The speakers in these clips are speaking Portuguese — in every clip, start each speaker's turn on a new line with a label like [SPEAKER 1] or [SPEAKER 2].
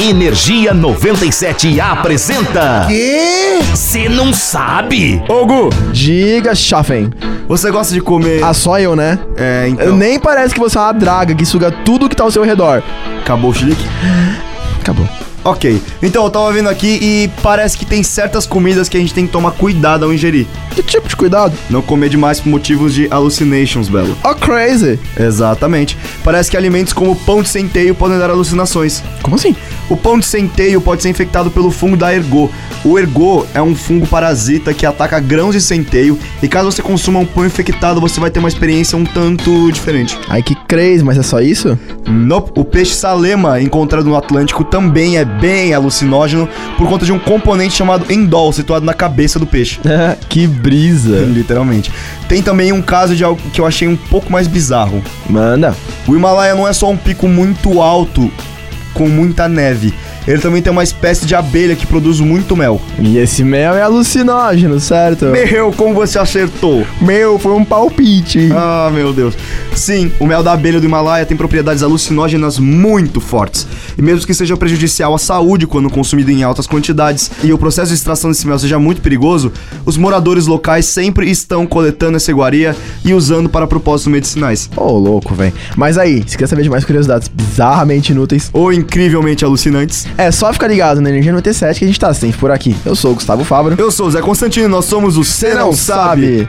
[SPEAKER 1] Energia 97 apresenta.
[SPEAKER 2] Quê?
[SPEAKER 1] Você não sabe?
[SPEAKER 3] Ô, Gu,
[SPEAKER 2] Diga, Schaffen.
[SPEAKER 3] você gosta de comer.
[SPEAKER 2] Ah, só eu, né?
[SPEAKER 3] É, então.
[SPEAKER 2] Eu nem parece que você é uma draga que suga tudo que tá ao seu redor.
[SPEAKER 3] Acabou o chilique?
[SPEAKER 2] Acabou.
[SPEAKER 3] Ok. Então, eu tava vendo aqui e parece que tem certas comidas que a gente tem que tomar cuidado ao ingerir.
[SPEAKER 2] Que tipo de cuidado?
[SPEAKER 3] Não comer demais por motivos de hallucinations, Belo.
[SPEAKER 2] Oh, crazy.
[SPEAKER 3] Exatamente. Parece que alimentos como pão de centeio podem dar alucinações.
[SPEAKER 2] Como assim?
[SPEAKER 3] O pão de centeio pode ser infectado pelo fungo da ergô. O ergô é um fungo parasita que ataca grãos de centeio e caso você consuma um pão infectado, você vai ter uma experiência um tanto diferente.
[SPEAKER 2] Ai, que crazy, mas é só isso?
[SPEAKER 3] Nope. O peixe salema encontrado no Atlântico também é bem alucinógeno por conta de um componente chamado endol situado na cabeça do peixe.
[SPEAKER 2] que brisa.
[SPEAKER 3] Literalmente. Tem também um caso de algo que eu achei um pouco mais bizarro.
[SPEAKER 2] Manda.
[SPEAKER 3] O Himalaia não é só um pico muito alto com muita neve. Ele também tem uma espécie de abelha que produz muito mel.
[SPEAKER 2] E esse mel é alucinógeno, certo?
[SPEAKER 3] Meu, como você acertou?
[SPEAKER 2] Meu, foi um palpite.
[SPEAKER 3] Ah, meu Deus. Sim, o mel da abelha do Himalaia tem propriedades alucinógenas muito fortes. E mesmo que seja prejudicial à saúde quando consumido em altas quantidades e o processo de extração desse mel seja muito perigoso, os moradores locais sempre estão coletando essa iguaria e usando para propósitos medicinais.
[SPEAKER 2] Ô, louco, velho. Mas aí, se quer saber de mais curiosidades bizarramente inúteis,
[SPEAKER 3] Ou incrivelmente alucinantes.
[SPEAKER 2] é só ficar ligado na Energia 97 que a gente tá sempre por aqui. Eu sou o Gustavo Fabro.
[SPEAKER 3] Eu sou o Zé Constantino, nós somos o Cê Não Sabe.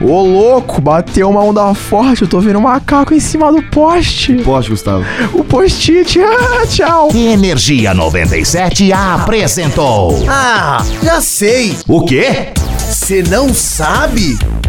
[SPEAKER 2] Ô, louco, bateu uma onda forte. Eu tô vendo um macaco em cima do poste.
[SPEAKER 3] Poste, Gustavo.
[SPEAKER 2] O post-it. Ah, tchau.
[SPEAKER 1] Energia 97 apresentou.
[SPEAKER 4] Ah, já sei.
[SPEAKER 1] O quê?
[SPEAKER 4] Você não sabe?